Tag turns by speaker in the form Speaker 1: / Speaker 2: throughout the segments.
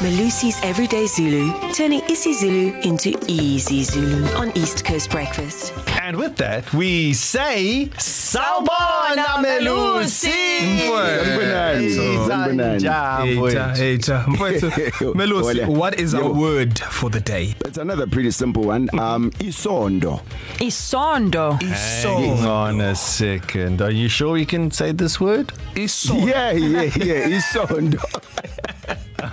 Speaker 1: Malusi's Everyday Zulu, turning isiZulu into easy Zulu on East Coast Breakfast.
Speaker 2: And with that, we say Sawubona
Speaker 3: Mbonani.
Speaker 2: Melusi.
Speaker 4: Eta, eta. Mfowethu, Melusi,
Speaker 3: Hola.
Speaker 4: what is our
Speaker 3: Yebo.
Speaker 4: word for the day?
Speaker 3: It's another pretty simple one. Um, isondo.
Speaker 5: Isondo.
Speaker 2: Hang on a second. Are you sure you can say this word?
Speaker 4: Iso.
Speaker 3: Yeah, yeah, yeah. Isondo.
Speaker 2: Uh,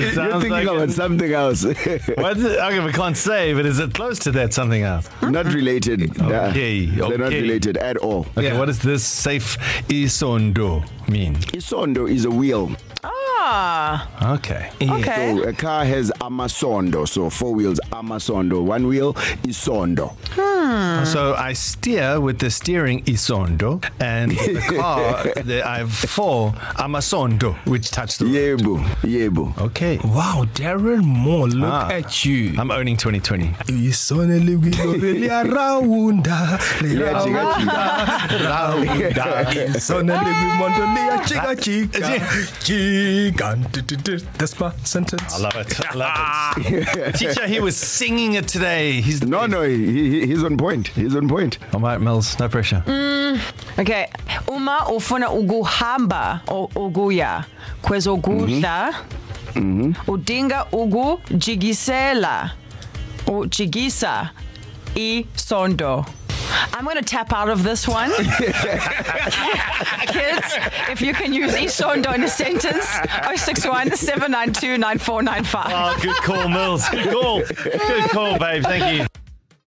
Speaker 2: it
Speaker 3: You're thinking about something else,
Speaker 2: What? Okay, we can't say, but is it close to that something else?
Speaker 3: not related. Nah,
Speaker 2: Okay,
Speaker 3: They're not
Speaker 2: okay.
Speaker 3: related at all.
Speaker 2: Okay,
Speaker 4: Yeah.
Speaker 2: what does this safe isondo mean?
Speaker 3: Isondo is a wheel.
Speaker 5: Ah,
Speaker 2: Okay.
Speaker 5: okay.
Speaker 2: Eh?
Speaker 3: So a car has amasondo, so four wheels. Amasondo, one wheel. Isondo.
Speaker 2: So I steer with the steering isondo, and the car, the, I have four amasondo, which touch the road.
Speaker 3: Yebo, yebo.
Speaker 2: Okay.
Speaker 4: Wow, Darren Moore, look
Speaker 2: Ah.
Speaker 4: ah. at you.
Speaker 2: I'm owning 2020.
Speaker 4: Isone ligwilo liyarhawunda,
Speaker 3: Liyajikajika.
Speaker 4: liyarhawunda. Isone ligwimondo liyajikajika, jika. Du- du- du. That's my sentence.
Speaker 2: I love it. I love it. Teacher, he was singing it today. He's
Speaker 3: No, no, he, he, he's on point. He's on point.
Speaker 2: All right, Mills, no pressure.
Speaker 5: Okay. Uma ufuna ukuhamba o ukuya kwezokudla mm-hmm. udinga ukujikisela ujikisa isondo. I'm going to tap out of this one. Kids, if you can use isondo in a sentence, 061 792 9495.
Speaker 2: Oh, good call, Mills. Good call. Good call, babe. Thank you.